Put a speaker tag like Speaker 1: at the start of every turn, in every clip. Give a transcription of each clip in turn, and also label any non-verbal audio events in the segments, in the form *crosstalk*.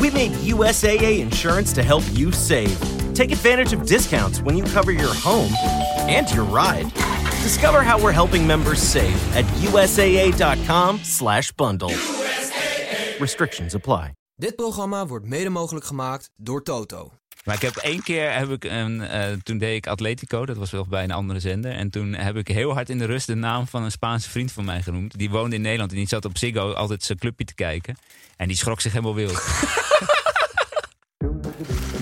Speaker 1: We made USAA insurance to help you save. Take advantage of discounts when you cover your home and your ride. Discover how we're helping members save at usaa.com/bundle. Restrictions apply.
Speaker 2: Dit programma wordt mede mogelijk gemaakt door Toto.
Speaker 3: Maar ik heb één keer, heb ik een, eh, toen deed ik Atletico, dat was wel bij een andere zender. En toen heb ik heel hard in de rust de naam van een Spaanse vriend van mij genoemd. Die woonde in Nederland en die zat op Ziggo altijd zijn clubje te kijken. En die schrok zich helemaal wild.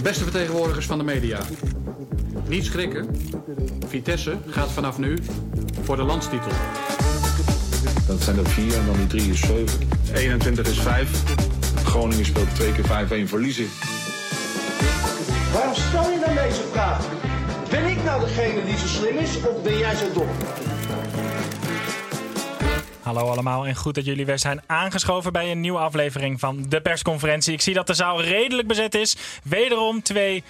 Speaker 4: Beste vertegenwoordigers van de media. Niet schrikken. Vitesse gaat vanaf nu voor de landstitel.
Speaker 5: Dat zijn er vier en dan die drie is zeven. 21 is vijf. Groningen speelt twee keer 5-1 verliezen.
Speaker 6: Waarom stel je dan deze vraag? Ben ik nou degene die zo slim is of ben jij zo dom?
Speaker 7: Hallo allemaal en goed dat jullie weer zijn aangeschoven bij een nieuwe aflevering van de persconferentie. Ik zie dat de zaal redelijk bezet is. Wederom twee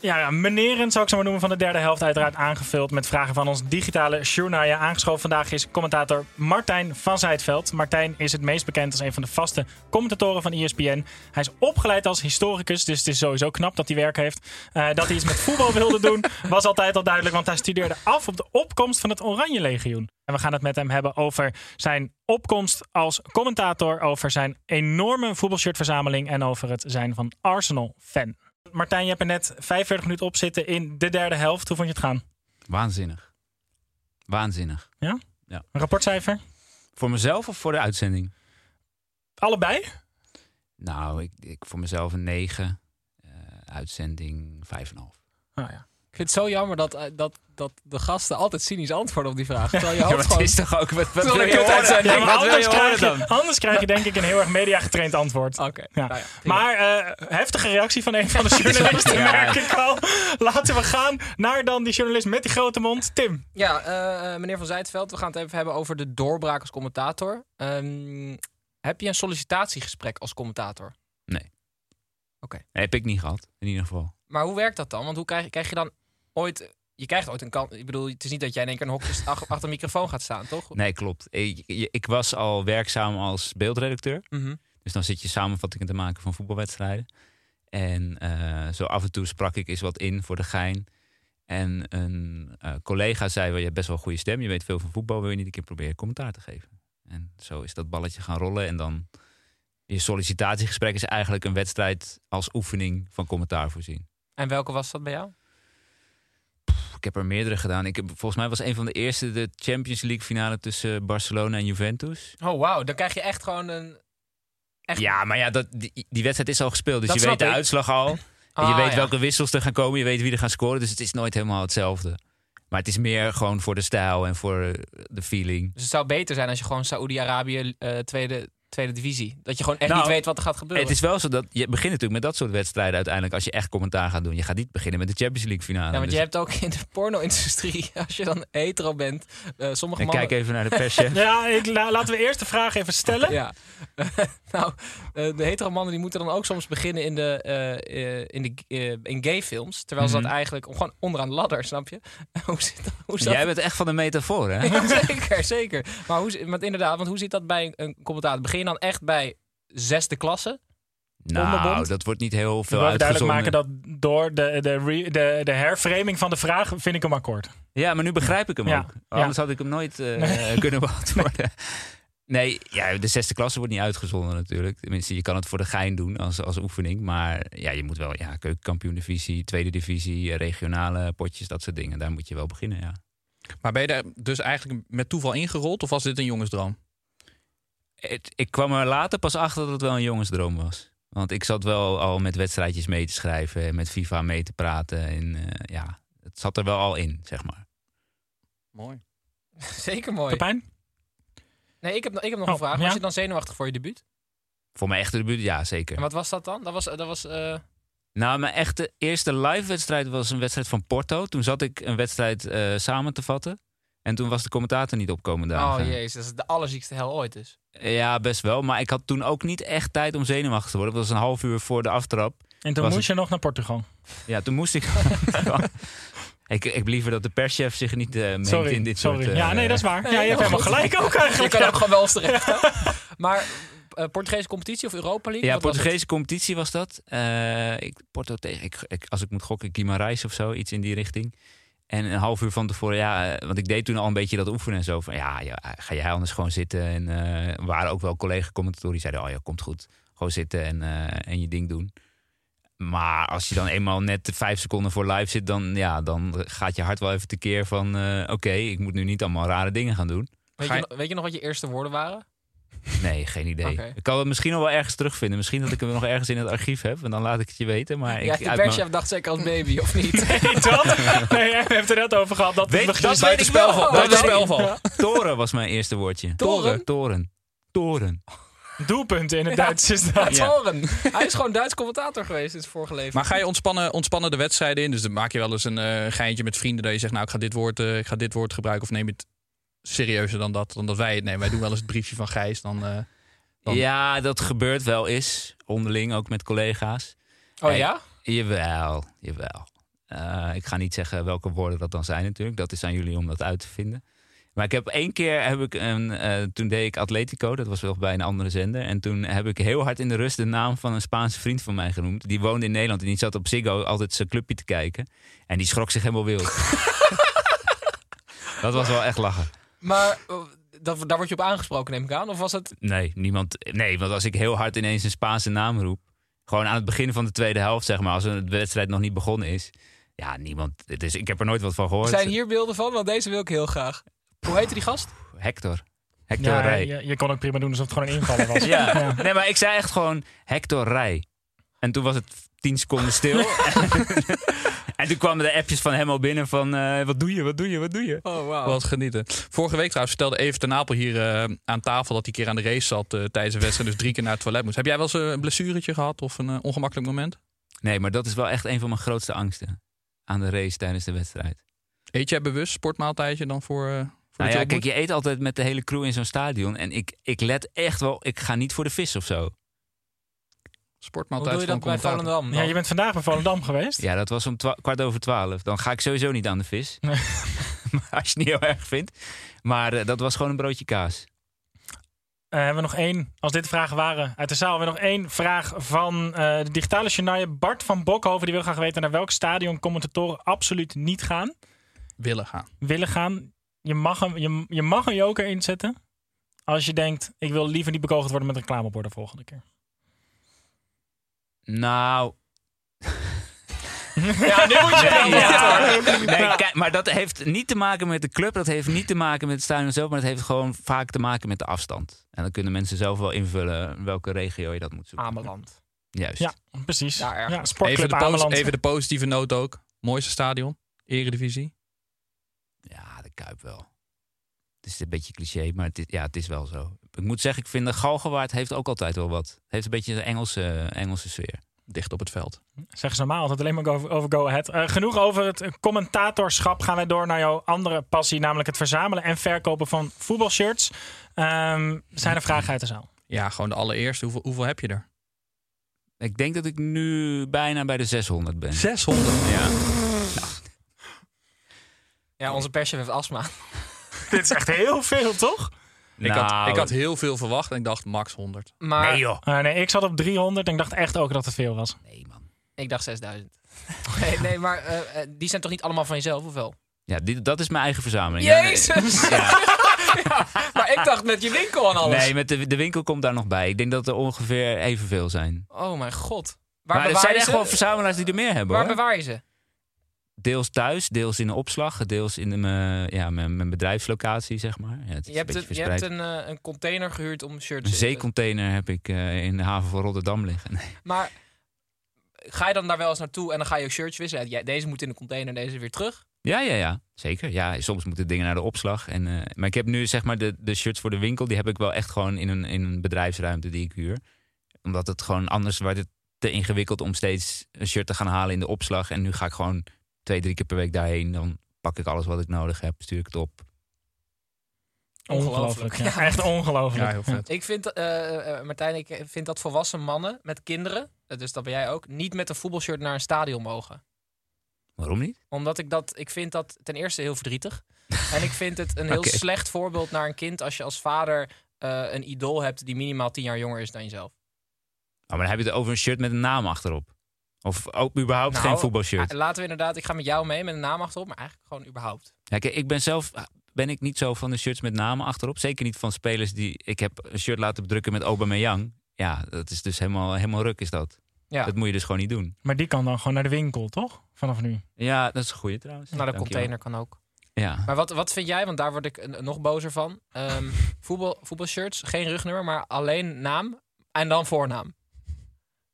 Speaker 7: ja, ja, meneren, zou ik zo maar noemen, van de derde helft. Uiteraard aangevuld met vragen van ons digitale journaaien. Aangeschoven vandaag is commentator Martijn van Zijtveld. Martijn is het meest bekend als een van de vaste commentatoren van E ESPN. Hij is opgeleid als historicus, dus het is sowieso knap dat hij werk heeft. Eh, dat hij iets met voetbal wilde doen, was altijd al duidelijk, want hij studeerde af op de opkomst van het Oranje Legioen. En we gaan het met hem hebben over zijn opkomst als commentator, over zijn enorme voetbalshirtverzameling en over het zijn van Arsenal-fan. Martijn, je hebt er net 45 minuten op zitten in de derde helft. Hoe vond je het gaan?
Speaker 3: Waanzinnig. Waanzinnig.
Speaker 7: Ja?
Speaker 3: Ja.
Speaker 7: Een rapportcijfer?
Speaker 3: Voor mezelf of voor de uitzending?
Speaker 7: Allebei?
Speaker 3: Nou, ik, ik voor mezelf een 9. eh, uitzending 5,5.
Speaker 7: Oh
Speaker 8: *laughs*
Speaker 7: ja.
Speaker 8: Ik vind het zo jammer dat, eh, dat, dat de gasten altijd cynisch antwoorden op die
Speaker 3: *laughs*
Speaker 8: vraag. Terwijl je
Speaker 3: Ja, maar
Speaker 8: hoopt
Speaker 3: het
Speaker 8: gewoon...
Speaker 3: is toch ook... Wat, wat
Speaker 8: Terwijl
Speaker 3: wil
Speaker 8: ik
Speaker 3: je
Speaker 8: het
Speaker 3: horen?
Speaker 8: uitzending-
Speaker 3: Ja, maar
Speaker 7: Ja, maar
Speaker 3: wat wil
Speaker 7: anders,
Speaker 3: je horen
Speaker 7: krijg
Speaker 3: dan?
Speaker 7: je, anders krijg je denk ik een heel erg media getraind antwoord.
Speaker 8: Oké,
Speaker 7: Ja.
Speaker 8: nou ja, prima.
Speaker 7: maar eh, heftige reactie van een
Speaker 8: *laughs*
Speaker 7: van de journalisten,
Speaker 3: Ja.
Speaker 7: merk ik al. Laten we gaan naar dan die journalist met die grote mond, Tim.
Speaker 8: Ja, eh, eh, meneer Van Zijtveld, we gaan het even hebben over de doorbraak als commentator. Ehm, heb je een sollicitatiegesprek als commentator?
Speaker 3: Heb ik niet gehad, in ieder geval.
Speaker 8: Maar hoe werkt dat dan? Want hoe krijg, krijg je dan ooit... Je krijgt ooit een kans. Ik bedoel, het is niet dat jij in één keer een hokje ach- achter een microfoon gaat staan, toch?
Speaker 3: Nee, klopt. Ik, je- ik was al werkzaam als beeldredacteur.
Speaker 8: Mhm.
Speaker 3: Dus dan zit je samenvattingen te maken van voetbalwedstrijden. En eh, zo af en toe sprak ik eens wat in voor de gein. En een eh, collega zei, wel, je hebt best wel een goede stem. Je weet veel van voetbal. Wil je niet een keer proberen commentaar te geven? En zo is dat balletje gaan rollen. En dan je sollicitatiegesprek is eigenlijk een wedstrijd als oefening van commentaar voorzien.
Speaker 8: En welke was dat bij jou?
Speaker 3: Ik heb er meerdere gedaan. Ik heb, volgens mij was een van de eerste de Champions League finale tussen Barcelona en Juventus.
Speaker 8: Oh, wauw. Dan krijg je echt gewoon een... Echt-
Speaker 3: Ja, maar ja, dat, die, die wedstrijd is al gespeeld. Dus
Speaker 8: Dat
Speaker 3: je weet
Speaker 8: snap
Speaker 3: de
Speaker 8: ik.
Speaker 3: uitslag al. En je
Speaker 8: Ah,
Speaker 3: weet
Speaker 8: ja.
Speaker 3: welke wissels er gaan komen. Je weet wie er gaan scoren. Dus het is nooit helemaal hetzelfde. Maar het is meer gewoon voor de stijl en voor eh, de feeling.
Speaker 8: Dus het zou beter zijn als je gewoon Saoedi-Arabië eh, tweede, tweede divisie. Dat je gewoon echt
Speaker 3: Nou,
Speaker 8: niet weet wat er gaat gebeuren.
Speaker 3: Het is wel zo dat je begint natuurlijk met dat soort wedstrijden uiteindelijk. Als je echt commentaar gaat doen. Je gaat niet beginnen met de Champions League
Speaker 8: Ja,
Speaker 3: finale.
Speaker 8: want je
Speaker 3: Dus-
Speaker 8: hebt ook in de porno-industrie, *laughs* als je dan hetero bent, eh, sommige
Speaker 3: En
Speaker 8: mannen...
Speaker 3: kijk even naar de
Speaker 8: *laughs*
Speaker 3: persje.
Speaker 7: Ja, ik, la- laten we eerst de vraag even stellen.
Speaker 8: Ja. *laughs* nou, eh, de hetero mannen die moeten dan ook soms beginnen in, de, eh, eh, in, de, eh, in gay-films. Terwijl ze
Speaker 3: Mhm.
Speaker 8: dat eigenlijk gewoon onderaan de ladder, snap je? *laughs* hoe zit dat? Hoe zit
Speaker 3: Jij bent echt van de
Speaker 8: *laughs*
Speaker 3: metafoor, hè?
Speaker 8: dat? zeker, zeker. Maar, hoe, zit- maar inderdaad, want hoe zit dat bij een, een commentator? Begin je dan echt bij zesde klasse?
Speaker 3: Nou,
Speaker 8: Onderbond.
Speaker 3: dat wordt niet heel
Speaker 7: Ik
Speaker 3: veel
Speaker 7: wil even duidelijk
Speaker 3: uitgezonden.
Speaker 7: maken dat door de, de, re- de, de herframing van de vraag vind ik hem akkoord.
Speaker 3: Ja, maar nu begrijp ik hem
Speaker 7: Ja,
Speaker 3: ook.
Speaker 7: ja.
Speaker 3: Anders had ik hem nooit eh, *laughs*
Speaker 7: *laughs*
Speaker 3: kunnen beantwoorden. Nee, ja, de zesde klasse wordt niet uitgezonden natuurlijk. Tenminste, je kan het voor de gein doen als, als oefening. Maar ja, je moet wel ja, keukenkampioen-divisie, tweede divisie, eh, regionale potjes, dat soort dingen. Daar moet je wel beginnen, ja.
Speaker 9: Maar ben je daar dus eigenlijk met toeval ingerold of was dit een jongensdroom?
Speaker 3: Het- ik kwam er later pas achter dat het wel een jongensdroom was. Want ik zat wel al met wedstrijdjes mee te schrijven, en met FIFA mee te praten. En eh, ja, het zat er wel al in, zeg maar.
Speaker 9: Mooi.
Speaker 8: Zeker mooi.
Speaker 7: Pepijn?
Speaker 8: Nee, ik heb, ik heb nog een
Speaker 7: Oh,
Speaker 8: vraag.
Speaker 7: ja?
Speaker 8: Was je dan zenuwachtig voor je debuut?
Speaker 3: Voor mijn echte debuut, ja, zeker.
Speaker 8: En wat was dat dan? Dat was... Dat was eh,
Speaker 3: Nou, mijn echte eerste live wedstrijd was een wedstrijd van Porto. Toen zat ik een wedstrijd eh, samen te vatten. En toen was de commentator niet opkomende
Speaker 8: oh
Speaker 3: dagen.
Speaker 8: jezus, dat is de allerziekste hel ooit dus.
Speaker 3: Ja, best wel. Maar ik had toen ook niet echt tijd om zenuwachtig te worden. Dat was een half uur voor de aftrap.
Speaker 7: En toen
Speaker 3: Was
Speaker 7: moest je nog naar Portugal.
Speaker 3: Ja, toen moest ik... *laughs* ik, ik heb liever dat de perschef zich niet eh mengt
Speaker 7: Sorry,
Speaker 3: in dit
Speaker 7: sorry.
Speaker 3: soort... eh,
Speaker 7: ja, nee, dat is waar. ja, je hebt
Speaker 8: heel
Speaker 7: helemaal
Speaker 8: goed.
Speaker 7: gelijk ook
Speaker 8: Je
Speaker 7: eigenlijk.
Speaker 8: kan
Speaker 7: *laughs* ja.
Speaker 8: ook gewoon wel eens terecht. hè? *laughs* maar eh, Portugese competitie of Europa League?
Speaker 3: Ja,
Speaker 8: Wat was het?
Speaker 3: Portugese competitie was dat. Eh, ik, Porto tegen, ik, ik- als ik moet gokken, Guimarães of zo, iets in die richting. En een half uur van tevoren, ja, eh, want ik deed toen al een beetje dat oefenen en zo. Van ja, ja, ga jij anders gewoon zitten. En eh, er waren ook wel collega-commentatoren die zeiden, oh ja, komt goed. Gewoon zitten en, eh, en je ding doen. Maar als je dan eenmaal net vijf seconden voor live zit, dan, ja, dan gaat je hart wel even tekeer van... eh, Oké, ik moet nu niet allemaal rare dingen gaan doen.
Speaker 8: Weet,
Speaker 3: Ga
Speaker 8: je,
Speaker 3: je-
Speaker 8: nog- weet je nog wat je eerste woorden waren?
Speaker 3: Nee, geen idee.
Speaker 8: Oké.
Speaker 3: Ik kan het misschien nog wel ergens terugvinden. Misschien dat ik hem nog ergens in het archief heb. En dan laat ik het je weten. Maar
Speaker 8: Ja,
Speaker 3: ik,
Speaker 8: de
Speaker 3: uit mijn-
Speaker 8: perschef dacht zeker als baby, of niet?
Speaker 7: Weet je wat? Nee, we hebben het er net over gehad. Dat
Speaker 3: Weet-
Speaker 7: we-
Speaker 3: dat weet ik
Speaker 8: buitenspel.
Speaker 3: wel.
Speaker 8: Oh,
Speaker 3: Dat
Speaker 8: dat
Speaker 3: weet
Speaker 8: weet
Speaker 3: ik
Speaker 8: ik.
Speaker 3: wel. Toren was mijn eerste woordje.
Speaker 8: Toren?
Speaker 3: Toren. Toren.
Speaker 7: doelpunten in het Duits is dat.
Speaker 3: Ja.
Speaker 8: Toren. *laughs* Hij is gewoon Duits commentator geweest in het vorige leven.
Speaker 9: Maar ga je ontspannen, ontspannen de wedstrijden in? Dus dan maak je wel eens een eh, geintje met vrienden dat je zegt, nou ik ga dit woord, eh, ik ga dit woord gebruiken. Of neem je het serieuzer dan dat, dan dat wij het nemen. Wij doen wel eens het briefje *laughs* van Gijs. Dan, eh, Dan-
Speaker 3: Ja, dat gebeurt wel eens. Onderling, ook met collega's.
Speaker 8: oh
Speaker 3: Hey,
Speaker 8: ja?
Speaker 3: Jawel, jawel. Eh, ik ga niet zeggen welke woorden dat dan zijn natuurlijk. Dat is aan jullie om dat uit te vinden. Maar ik heb één keer, heb ik een, eh, toen deed ik Atletico. Dat was wel bij een andere zender. En toen heb ik heel hard in de rust de naam van een Spaanse vriend van mij genoemd. Die woonde in Nederland en die zat op Ziggo altijd zijn clubje te kijken. En die schrok zich helemaal
Speaker 8: *laughs*
Speaker 3: wild. dat was wel echt lachen.
Speaker 8: Maar eh, dat, daar word je op aangesproken, neem ik aan? Of was het...
Speaker 3: Nee, niemand. Nee, want als ik heel hard ineens een Spaanse naam roep. Gewoon aan het begin van de tweede helft, zeg maar. Als de wedstrijd nog niet begonnen is. Ja, niemand. Dus ik heb er nooit wat van gehoord.
Speaker 8: Zijn hier beelden van? Want deze wil ik heel graag. Hoe heette die gast?
Speaker 3: Hector. Hector
Speaker 7: Ja,
Speaker 3: Rij.
Speaker 7: je, je kon ook prima doen alsof het gewoon een invaller
Speaker 9: *laughs*
Speaker 7: was.
Speaker 3: Ja. Nee, maar ik zei echt gewoon Hector Rij. En toen was het tien seconden stil.
Speaker 8: *laughs*
Speaker 3: en toen kwamen de appjes van hem al binnen van... eh, wat doe je, wat doe je, wat doe je?
Speaker 8: Oh, wauw.
Speaker 9: Wat genieten. Vorige week trouwens vertelde Even ten Apel hier eh, aan tafel dat hij een keer aan de race zat eh, tijdens een wedstrijd. Dus drie keer naar het toilet moest. Heb jij wel eens eh, een blessuretje gehad of een eh, ongemakkelijk moment?
Speaker 3: Nee, maar dat is wel echt een van mijn grootste angsten. Aan de race tijdens de wedstrijd.
Speaker 9: Eet jij bewust sportmaaltijdje dan voor, eh, voor
Speaker 3: Nou
Speaker 9: wat
Speaker 3: ja,
Speaker 9: op
Speaker 3: kijk,
Speaker 9: moet?
Speaker 3: je eet altijd met de hele crew in zo'n stadion. En ik, ik let echt wel... Ik ga niet voor de vis of zo.
Speaker 8: Hoe doe
Speaker 9: sportmaaltijd
Speaker 8: je
Speaker 9: van
Speaker 8: dat bij
Speaker 9: commentator.
Speaker 8: Volendam?
Speaker 7: Ja, je bent vandaag bij Volendam geweest.
Speaker 3: Ja, dat was om twa- kwart over twaalf. Dan ga ik sowieso niet aan de vis.
Speaker 7: Nee.
Speaker 3: *laughs* Maar als je het niet heel erg vindt. Maar eh, dat was gewoon een broodje kaas.
Speaker 7: Eh, hebben we nog één, als dit de vragen waren uit de zaal, hebben we nog één vraag van eh, de digitale Shania Bart van Bokhoven. Die wil graag weten naar welk stadion commentatoren absoluut niet gaan,
Speaker 9: Willen gaan.
Speaker 7: willen gaan. Je mag een, je, je mag een joker inzetten als je denkt, ik wil liever niet bekogeld worden met reclameborden volgende keer.
Speaker 3: Nou.
Speaker 7: *laughs* Ja, nu moet je
Speaker 3: Nee, ja.
Speaker 7: ja.
Speaker 3: Nee, kijk, maar dat heeft niet te maken met de club. Dat heeft niet te maken met het stadion zelf. Maar dat heeft gewoon vaak te maken met de afstand. En dan kunnen mensen zelf wel invullen welke regio je dat moet zoeken.
Speaker 8: Ameland.
Speaker 3: Juist.
Speaker 7: Ja, precies.
Speaker 8: Daar
Speaker 7: Ja,
Speaker 8: ergens.
Speaker 9: Even
Speaker 7: sportclub
Speaker 9: de, posi-
Speaker 7: Ameland.
Speaker 9: even de positieve noot ook. Mooiste stadion. Eredivisie.
Speaker 3: Ja, de Kuip wel. Het is een beetje cliché, maar het is, ja, het is wel zo. Ik moet zeggen, ik vind de Galgenwaard heeft ook altijd wel wat. Het heeft een beetje een Engelse, Engelse sfeer.
Speaker 9: Dicht op het veld.
Speaker 7: Zeggen ze normaal altijd alleen maar over, over Go Ahead. Eh, genoeg over het commentatorschap. Gaan wij door naar jouw andere passie, namelijk het verzamelen en verkopen van voetbalshirts. Ehm, zijn er vragen uit de zaal?
Speaker 9: Ja, gewoon de allereerste. Hoeveel, hoeveel heb je er?
Speaker 3: Ik denk dat ik nu bijna bij de 600 ben.
Speaker 9: 600.
Speaker 3: Ja.
Speaker 8: Ja, onze persje heeft astma.
Speaker 7: *laughs* Dit is echt heel veel, toch?
Speaker 9: Ik, had,
Speaker 3: Nou,
Speaker 9: ik had heel veel verwacht en ik dacht max 100.
Speaker 8: Maar
Speaker 3: Nee joh.
Speaker 7: Eh, nee, ik zat op 300 en ik dacht echt ook dat het veel was.
Speaker 3: Nee man.
Speaker 8: ik dacht 6000. *laughs* Nee, nee maar eh, eh, die zijn toch niet allemaal van jezelf, of wel? *laughs*
Speaker 3: Ja, dit, dat is mijn eigen verzameling.
Speaker 8: Jezus!
Speaker 3: Ja.
Speaker 8: Maar ik dacht met je winkel aan *laughs* alles.
Speaker 3: Nee, met de, de winkel komt daar nog bij. Ik denk dat er ongeveer evenveel zijn.
Speaker 8: Oh mijn god. Waar
Speaker 3: Maar er
Speaker 8: bewaar
Speaker 3: zijn
Speaker 8: je
Speaker 3: echt
Speaker 8: ze?
Speaker 3: wel verzamelaars die er meer hebben.
Speaker 8: Waar
Speaker 3: hoor.
Speaker 8: bewaar je ze?
Speaker 3: Deels thuis, deels in de opslag, deels in mijn, ja, mijn, mijn bedrijfslocatie, zeg maar. Ja, het is
Speaker 8: Je hebt,
Speaker 3: een
Speaker 8: een,
Speaker 3: beetje
Speaker 8: je hebt
Speaker 3: verspreid.
Speaker 8: een, eh, een container gehuurd om shirts
Speaker 3: Een
Speaker 8: te-
Speaker 3: zeecontainer heb ik eh, in de haven van Rotterdam liggen. Nee.
Speaker 8: Maar ga je dan daar wel eens naartoe en dan ga je je shirts wisselen? Ja, deze moet in de container, deze weer terug.
Speaker 3: Ja, ja, ja. Zeker. Ja, soms moeten dingen naar de opslag. En, eh, maar ik heb nu zeg maar de, de shirts voor de winkel, die heb ik wel echt gewoon in een, in een bedrijfsruimte die ik huur. Omdat het gewoon anders werd het te ingewikkeld om steeds een shirt te gaan halen in de opslag. En nu ga ik gewoon twee, drie keer per week daarheen. Dan pak ik alles wat ik nodig heb, stuur ik het op.
Speaker 8: *laughs*
Speaker 7: Ongelooflijk. ja. Echt ongelooflijk.
Speaker 8: Ik vind, eh, eh, Martijn, ik vind dat volwassen mannen met kinderen, eh, dus dat ben jij ook, niet met een voetbalshirt naar een stadion mogen.
Speaker 3: Waarom niet?
Speaker 8: Omdat ik dat, ik vind dat ten eerste heel verdrietig.
Speaker 3: *laughs*
Speaker 8: en ik vind het een heel
Speaker 3: Oké.
Speaker 8: slecht voorbeeld naar een kind als je als vader eh, een idool hebt die minimaal tien jaar jonger is dan jezelf.
Speaker 3: Oh, maar dan heb je het over een shirt met een naam achterop. Of ook überhaupt
Speaker 8: Nou,
Speaker 3: geen voetbalshirt.
Speaker 8: eh, Laten we inderdaad, ik ga met jou mee met een naam achterop, maar eigenlijk gewoon überhaupt.
Speaker 3: Ja, kijk, ik ben zelf ben ik niet zo van de shirts met namen achterop. Zeker niet van spelers die... Ik heb een shirt laten bedrukken met Aubameyang. Ja, dat is dus helemaal, helemaal ruk is dat.
Speaker 8: Ja.
Speaker 3: Dat moet je dus gewoon niet doen.
Speaker 7: Maar die kan dan gewoon naar de winkel, toch? Vanaf nu.
Speaker 3: Ja, dat is een goeie trouwens.
Speaker 8: Nou, de
Speaker 3: Dankjewel.
Speaker 8: container kan ook.
Speaker 3: Ja.
Speaker 8: *laughs* Maar wat, wat vind jij, want daar word ik eh, nog bozer van.
Speaker 3: *laughs*
Speaker 8: Ehm, voetbal, voetbalshirts, geen rugnummer, maar alleen naam en dan voornaam.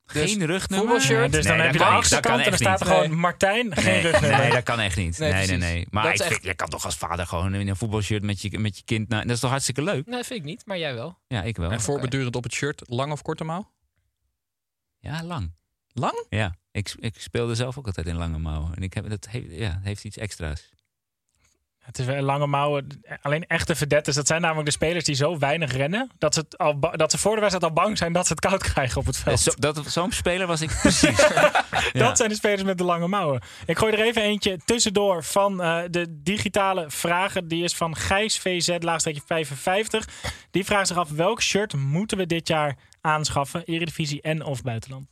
Speaker 8: Dus
Speaker 3: Geen rugnummer?
Speaker 8: voetbalshirt-
Speaker 7: Nee, dus dan
Speaker 3: Nee,
Speaker 7: heb je
Speaker 3: dat
Speaker 7: de
Speaker 3: kan niet. Dat
Speaker 7: achterkant
Speaker 3: kan
Speaker 7: en dan
Speaker 3: echt
Speaker 7: staat er
Speaker 3: niet.
Speaker 7: gewoon Martijn, geen
Speaker 3: Nee,
Speaker 7: rugnummer.
Speaker 3: nee, dat kan echt niet.
Speaker 8: Nee,
Speaker 3: Nee, nee, nee.
Speaker 8: precies.
Speaker 3: Maar
Speaker 8: Dat
Speaker 3: ik
Speaker 8: is
Speaker 3: vind,
Speaker 8: echt-
Speaker 3: je kan toch als vader gewoon in een voetbalshirt met je, met je kind... naar- dat is toch hartstikke leuk?
Speaker 8: Nee, vind ik niet, maar jij wel.
Speaker 3: Ja, ik wel.
Speaker 9: En voorbedurend op het shirt, lang of korte mouw?
Speaker 3: Ja, lang.
Speaker 9: Lang?
Speaker 3: Ja, ik, ik speelde zelf ook altijd in lange mouwen. En ik heb, dat heeft, ja, heeft iets extra's.
Speaker 7: Het is wel lange mouwen. Alleen echte verdettes. Dat zijn namelijk de spelers die zo weinig rennen. Dat ze, het al ba- dat ze voor de wedstrijd al bang zijn dat ze het koud *laughs* krijgen op het
Speaker 3: Ja,
Speaker 7: veld.
Speaker 3: Eh, zo- dat- Zo'n speler was ik precies. Ja.
Speaker 7: Dat zijn de spelers met de lange mouwen. Ik gooi er even eentje tussendoor van eh, de digitale vragen. Die is van Gijs VZ, laagstreekje 55. Die vraagt zich af, welk shirt moeten we dit jaar aanschaffen? Eredivisie en of buitenland?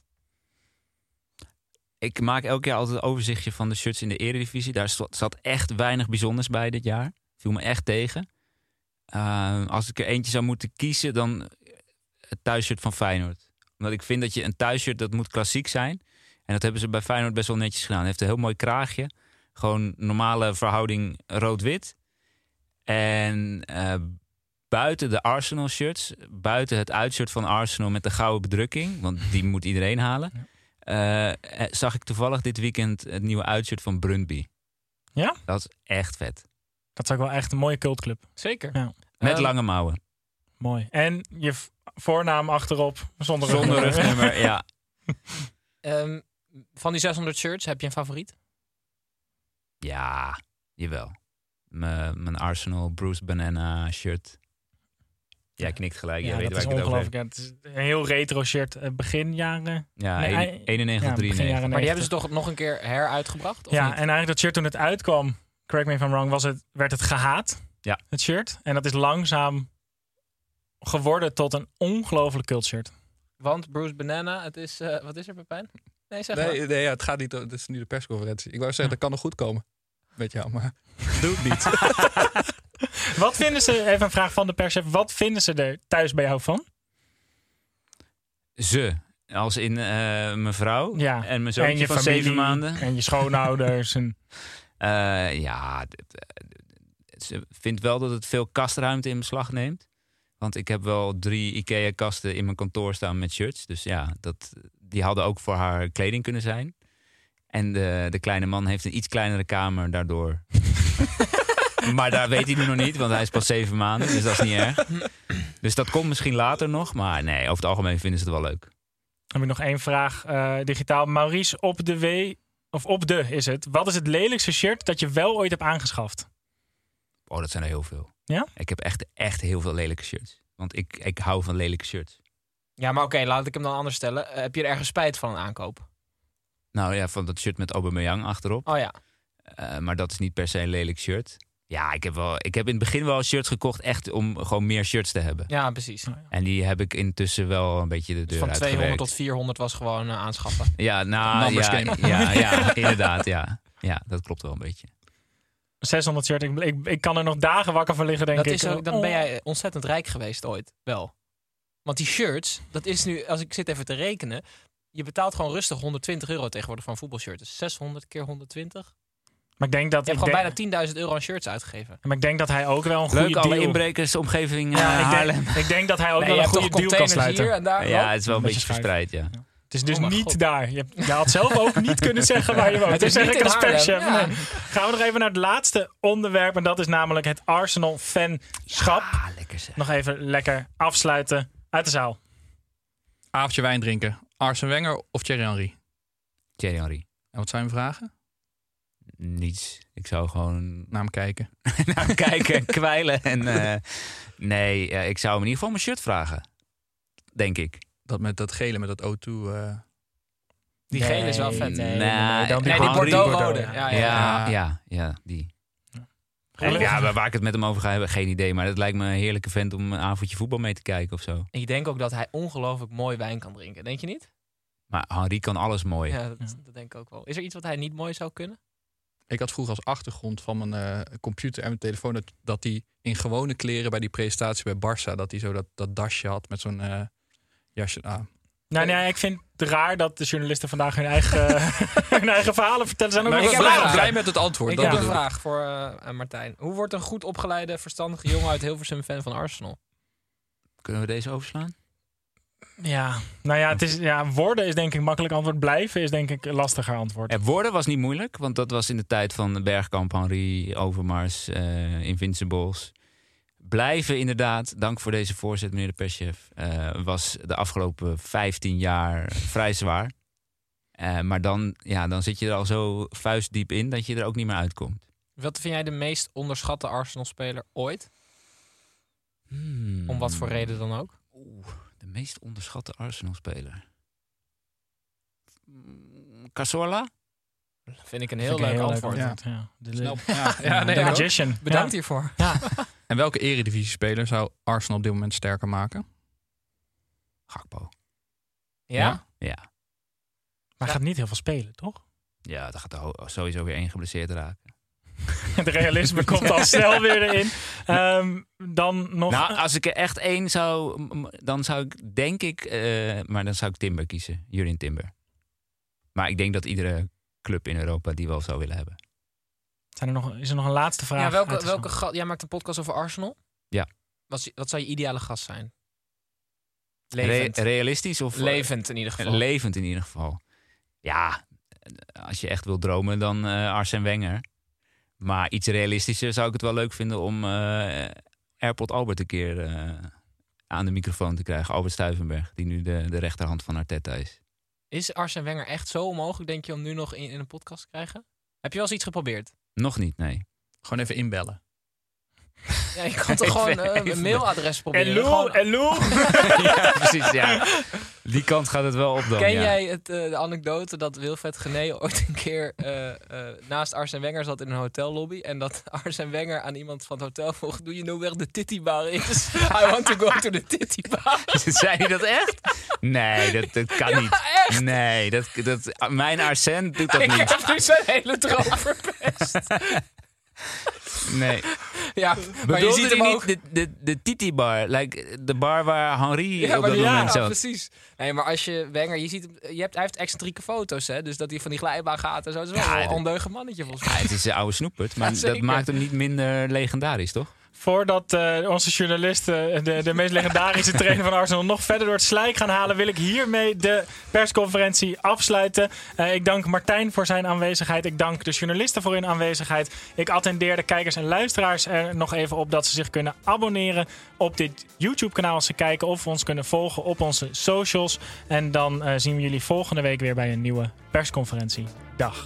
Speaker 3: Ik maak elk jaar altijd een overzichtje van de shirts in de eredivisie. Daar zat zat echt weinig bijzonders bij dit jaar. Viel me echt tegen. Eh, als ik er eentje zou moeten kiezen, dan eh, het thuisshirt van Feyenoord. Omdat ik vind dat je een thuisshirt, dat moet klassiek zijn. En dat hebben ze bij Feyenoord best wel netjes gedaan. Het heeft een heel mooi kraagje. Gewoon normale verhouding rood-wit. En eh, buiten de Arsenal shirts, buiten het uitshirt van Arsenal met de gouden bedrukking, want die moet iedereen halen, eh, eh, zag ik toevallig dit weekend het nieuwe uitshirt van Brundby.
Speaker 7: Ja?
Speaker 3: Dat is echt vet.
Speaker 7: Dat is ook wel echt een mooie cultclub.
Speaker 8: Zeker.
Speaker 7: Ja,
Speaker 3: Met
Speaker 8: Ehm,
Speaker 3: lange mouwen.
Speaker 7: mooi. En je v- voornaam achterop, zonder,
Speaker 3: Zonder rugnummer, ja.
Speaker 8: Ehm, van die 600 shirts, heb je een favoriet?
Speaker 3: Ja, jawel. M- mijn Arsenal Bruce Banana shirt. Jij knikt gelijk, jij
Speaker 7: *laughs* Ja,
Speaker 3: weet
Speaker 7: dat
Speaker 3: waar
Speaker 7: is
Speaker 3: ik het over heb.
Speaker 7: ongelooflijk. Ja, het is een heel retro shirt. Eh, Begin jaren...
Speaker 3: Ja,
Speaker 7: Nee,
Speaker 3: een-
Speaker 7: hij-
Speaker 3: 91,
Speaker 7: ja, begin
Speaker 3: 93.
Speaker 7: jaren
Speaker 8: Maar die
Speaker 7: 90.
Speaker 8: hebben ze toch nog een keer heruitgebracht? Of
Speaker 7: Ja, en
Speaker 8: niet?
Speaker 7: eigenlijk dat shirt toen het uitkwam, correct me if I'm wrong, was het, werd het gehaat.
Speaker 3: Ja.
Speaker 7: Het shirt. En dat is langzaam geworden tot een ongelooflijk cultshirt.
Speaker 8: Want Bruce Banana, het is, eh, wat is er, Pepijn? Nee, zeg maar. Hm.
Speaker 9: Nee, nee ja, het gaat niet. Het is nu de persconferentie. Ik wou zeggen, dat kan nog goed komen. Weet jou, maar doe het niet.
Speaker 7: Wat vinden ze, even een vraag van de pers, wat vinden ze er thuis bij jou van?
Speaker 3: Ze. Als in eh, mijn vrouw
Speaker 7: Ja.
Speaker 3: en mijn zoontje van zeven maanden.
Speaker 7: En je schoonouders. En,
Speaker 3: Eh, ja, d- d- d- ze vindt wel dat het veel kastruimte in beslag neemt. Want ik heb wel drie IKEA-kasten in mijn kantoor staan met shirts. Dus ja, dat, die hadden ook voor haar kleding kunnen zijn. En de, de kleine man heeft een iets kleinere kamer daardoor. *laughs* maar daar weet hij nu nog niet, want hij is pas zeven maanden. Dus dat is niet erg. Dus dat komt misschien later nog. Maar nee, over het algemeen vinden ze het wel leuk.
Speaker 7: dan heb ik nog één vraag eh, digitaal. Maurice, op de W, of op de is het, wat is het lelijkste shirt dat je wel ooit hebt aangeschaft?
Speaker 3: Oh, dat zijn er heel veel.
Speaker 7: Ja?
Speaker 3: Ik heb echt, echt heel veel lelijke shirts. Want ik, ik hou van lelijke shirts.
Speaker 8: Ja, maar oké, laat ik hem dan anders stellen. Eh, heb je er ergens spijt van een aankoop?
Speaker 3: Nou ja, van dat shirt met Aubameyang achterop.
Speaker 8: Oh ja.
Speaker 3: Eh, maar dat is niet per se een lelijk shirt. Ja, ik heb, wel, ik heb in het begin wel shirts gekocht echt om gewoon meer shirts te hebben.
Speaker 8: Ja, precies.
Speaker 3: En die heb ik intussen wel een beetje de deur
Speaker 8: Dus van 200
Speaker 3: uitgewerkt.
Speaker 8: tot 400 was gewoon eh, aanschaffen.
Speaker 3: Ja, nou,
Speaker 9: Numbers
Speaker 3: ja,
Speaker 9: game.
Speaker 3: ja, ja, inderdaad, ja. Ja, dat klopt wel een beetje.
Speaker 7: 600 shirt, ik, ik, ik kan er nog dagen wakker van liggen, denk
Speaker 8: Dat
Speaker 7: ik.
Speaker 8: is ook, dan
Speaker 7: Oh.
Speaker 8: ben jij ontzettend rijk geweest ooit, wel. Want die shirts, dat is nu, als ik zit even te rekenen... Je betaalt gewoon rustig 120 euro tegenwoordig voor een voetbalshirt. Dus 600 keer 120.
Speaker 7: Maar ik denk dat...
Speaker 8: Je hebt
Speaker 7: ik denk-
Speaker 8: gewoon bijna 10.000 euro aan shirts uitgegeven.
Speaker 7: Maar ik denk dat hij ook wel een goede
Speaker 3: Leuk, alle
Speaker 7: deal...
Speaker 3: inbrekers, omgeving
Speaker 7: Ja,
Speaker 3: eh,
Speaker 7: ik,
Speaker 3: Haarlem.
Speaker 7: denk, ik denk dat hij ook
Speaker 8: Nee,
Speaker 7: wel
Speaker 8: je
Speaker 7: een
Speaker 8: hebt
Speaker 7: goede
Speaker 8: toch
Speaker 7: deal kan
Speaker 8: containers
Speaker 7: sluiten.
Speaker 8: hier en daar.
Speaker 3: Ja, het is wel een
Speaker 7: Beetje
Speaker 3: beetje
Speaker 7: schuif.
Speaker 3: verspreid, ja.
Speaker 7: Het is dus
Speaker 8: Oh mijn
Speaker 7: niet
Speaker 8: God.
Speaker 7: daar. Je, hebt- je had zelf ook niet
Speaker 8: *laughs*
Speaker 7: kunnen zeggen waar je woont.
Speaker 8: Het
Speaker 7: Dus
Speaker 8: is
Speaker 7: zeg
Speaker 8: niet
Speaker 7: ik als
Speaker 8: in Haarlem,
Speaker 7: perschef.
Speaker 8: ja.
Speaker 7: Nee. Gaan we nog even naar het laatste onderwerp. En dat is namelijk het Arsenal-fanschap.
Speaker 3: Ah,
Speaker 7: nog even lekker afsluiten uit de zaal.
Speaker 9: Avondje wijn drinken. Arsene Wenger of Thierry Henry?
Speaker 3: Thierry Henry.
Speaker 9: En wat zijn mijn vragen?
Speaker 3: Niets. Ik zou gewoon
Speaker 9: Naar hem kijken.
Speaker 3: *laughs* naar hem kijken *laughs* en kwijlen. En, eh, nee, ja, ik zou hem in ieder geval mijn shirt vragen. Denk ik.
Speaker 9: Dat met dat gele, met dat O2. eh,
Speaker 8: Die gele is wel vet.
Speaker 3: Nee,
Speaker 8: Nee,
Speaker 3: nee, nee, dan die
Speaker 8: die
Speaker 3: Henry.
Speaker 8: Bordeaux-rode.
Speaker 7: Bordeaux,
Speaker 8: Ja,
Speaker 3: Ja,
Speaker 8: ja.
Speaker 3: ja, ja, die. En
Speaker 7: Gelukkig.
Speaker 3: ja, waar- waar ik het met hem over ga hebben, geen idee. Maar dat lijkt me een heerlijke vent om een avondje voetbal mee te kijken of zo.
Speaker 8: En ik denk ook dat hij ongelooflijk mooi wijn kan drinken. Denk je niet?
Speaker 3: Maar Henri kan alles mooi.
Speaker 8: Ja, dat, dat denk ik ook wel. Is er iets wat hij niet mooi zou kunnen?
Speaker 9: Ik had vroeger als achtergrond van mijn eh, computer en mijn telefoon dat, dat hij in gewone kleren bij die presentatie bij Barça, dat hij zo dat, dat dasje had met zo'n eh, jasje aan.
Speaker 7: Nou, nee, ik vind het raar dat de journalisten vandaag hun eigen, *laughs* hun eigen verhalen vertellen. Zijn ook
Speaker 9: Maar
Speaker 7: wel
Speaker 9: ik
Speaker 8: heb een
Speaker 9: ben
Speaker 7: blij
Speaker 9: blij,
Speaker 8: vraag.
Speaker 9: blij met het antwoord.
Speaker 8: ik
Speaker 9: dat
Speaker 8: heb een
Speaker 9: bedoel ik.
Speaker 8: vraag voor eh, aan Martijn. Hoe wordt een goed opgeleide, verstandige jongen uit Hilversum fan van Arsenal?
Speaker 3: Kunnen we deze overslaan?
Speaker 7: Ja, nou ja, het is, ja, worden is denk ik makkelijk antwoord. Blijven is denk ik een lastiger antwoord.
Speaker 3: Eh, worden was niet moeilijk, want dat was in de tijd van Bergkamp, Henri, Overmars, eh, Invincibles. Blijven inderdaad, dank voor deze voorzet, meneer de perschef, eh, was de afgelopen 15 jaar vrij zwaar. Eh, maar dan, ja, dan zit je er al zo vuistdiep in dat je er ook niet meer uitkomt.
Speaker 8: Wat vind jij de meest onderschatte Arsenal-speler ooit? Om wat voor reden dan ook?
Speaker 3: Oeh, de meest onderschatte Arsenal-speler. Mm, Casola?
Speaker 8: Vind ik een heel
Speaker 7: Vind ik een
Speaker 8: leuk antwoord.
Speaker 9: antwoord.
Speaker 7: Ja. De,
Speaker 9: Snel- Ja,
Speaker 8: *laughs*
Speaker 9: ja, nee,
Speaker 7: de
Speaker 9: hoor.
Speaker 7: magician.
Speaker 8: Bedankt
Speaker 7: Ja.
Speaker 8: hiervoor.
Speaker 9: *laughs* En welke eredivisie-speler zou Arsenal op dit moment sterker maken?
Speaker 3: Gakpo.
Speaker 8: Ja?
Speaker 3: Ja.
Speaker 7: Maar gaat niet heel veel spelen, toch? *laughs*
Speaker 3: Ja, daar gaat er ho- sowieso weer één geblesseerd raken.
Speaker 7: Het realisme komt
Speaker 8: *laughs*
Speaker 7: al snel weer erin. Ehm, dan nog...
Speaker 3: Nou, als ik er echt één zou... m- m- Dan zou ik, denk ik... eh, maar dan zou ik Timber kiezen. Jurin Timber. Maar ik denk dat iedere club in Europa die wel zou willen hebben.
Speaker 7: zijn er nog, is er nog een laatste vraag?
Speaker 8: Ja,
Speaker 7: uit
Speaker 8: welke,
Speaker 7: de zaal?
Speaker 8: welke gast, jij maakt een podcast over Arsenal?
Speaker 3: Ja.
Speaker 8: Wat, wat zou je ideale gast zijn?
Speaker 3: Re-
Speaker 8: Levend.
Speaker 3: realistisch of... eh,
Speaker 8: Levend in ieder geval.
Speaker 3: Levend in ieder geval. Ja, als je echt wil dromen, dan eh Arsène Wenger. Maar iets realistischer zou ik het wel leuk vinden om eh Airport Albert een keer eh, aan de microfoon te krijgen. Albert Stuivenberg, die nu de, de rechterhand van Arteta is.
Speaker 8: Is Arsene Wenger echt zo onmogelijk, denk je, om nu nog in, in een podcast te krijgen? Heb je wel eens iets geprobeerd?
Speaker 3: Nog niet, nee.
Speaker 9: Gewoon even inbellen.
Speaker 8: Ja, je
Speaker 9: *laughs*
Speaker 8: kan toch gewoon eh, een mailadres proberen?
Speaker 7: En Lou,
Speaker 8: Gewoon-
Speaker 7: en Lou.
Speaker 3: ja, precies, ja. Die kant gaat het wel op dan,
Speaker 8: Ken
Speaker 3: Oh, ja.
Speaker 8: jij het, eh, de anekdote dat Wilfred Gené *laughs* ooit een keer eh, eh, naast Arsene Wenger zat in een hotellobby? En dat *laughs* Arsene Wenger aan iemand van het hotel vroeg: nou Do you know where the titty bar is? *laughs* I want to go to the titty bar.
Speaker 3: *laughs* Zei hij *laughs* dat echt? Nee, dat, dat kan niet.
Speaker 8: echt?
Speaker 3: Nee, dat, dat, mijn Arsène doet dat
Speaker 8: Ik
Speaker 3: niet.
Speaker 8: heb nu zijn hele droom *laughs* verpest.
Speaker 3: Nee.
Speaker 8: Ja, maar je
Speaker 3: Bedoelde
Speaker 8: ziet
Speaker 3: hij
Speaker 8: hem
Speaker 3: niet
Speaker 8: ook.
Speaker 3: de, de, de Titi bar? Like, de bar waar Henri
Speaker 8: Ja,
Speaker 3: op
Speaker 8: maar
Speaker 3: dat
Speaker 8: die- ja,
Speaker 3: moment zat.
Speaker 8: precies. Nee, maar als je Wenger, je ziet, hem- eh, je hebt, hij heeft excentrieke foto's, hè? Dus dat hij van die glijbaan gaat en zo. Dat is wel
Speaker 3: Ja,
Speaker 8: een
Speaker 3: dat-
Speaker 8: ondeugend mannetje volgens
Speaker 3: Ja,
Speaker 8: mij.
Speaker 3: het is een oude snoepert, maar
Speaker 8: Ja,
Speaker 3: dat
Speaker 8: zeker.
Speaker 3: maakt hem niet minder legendarisch, toch?
Speaker 7: Voordat eh, onze journalisten de, de meest legendarische trainer van Arsenal nog verder door het slijk gaan halen, wil ik hiermee de persconferentie afsluiten. Eh, ik dank Martijn voor zijn aanwezigheid. Ik dank de journalisten voor hun aanwezigheid. Ik attendeer de kijkers en luisteraars er nog even op dat ze zich kunnen abonneren op dit YouTube-kanaal als ze kijken of ons kunnen volgen op onze socials. En dan eh, zien we jullie volgende week weer bij een nieuwe persconferentie. Dag.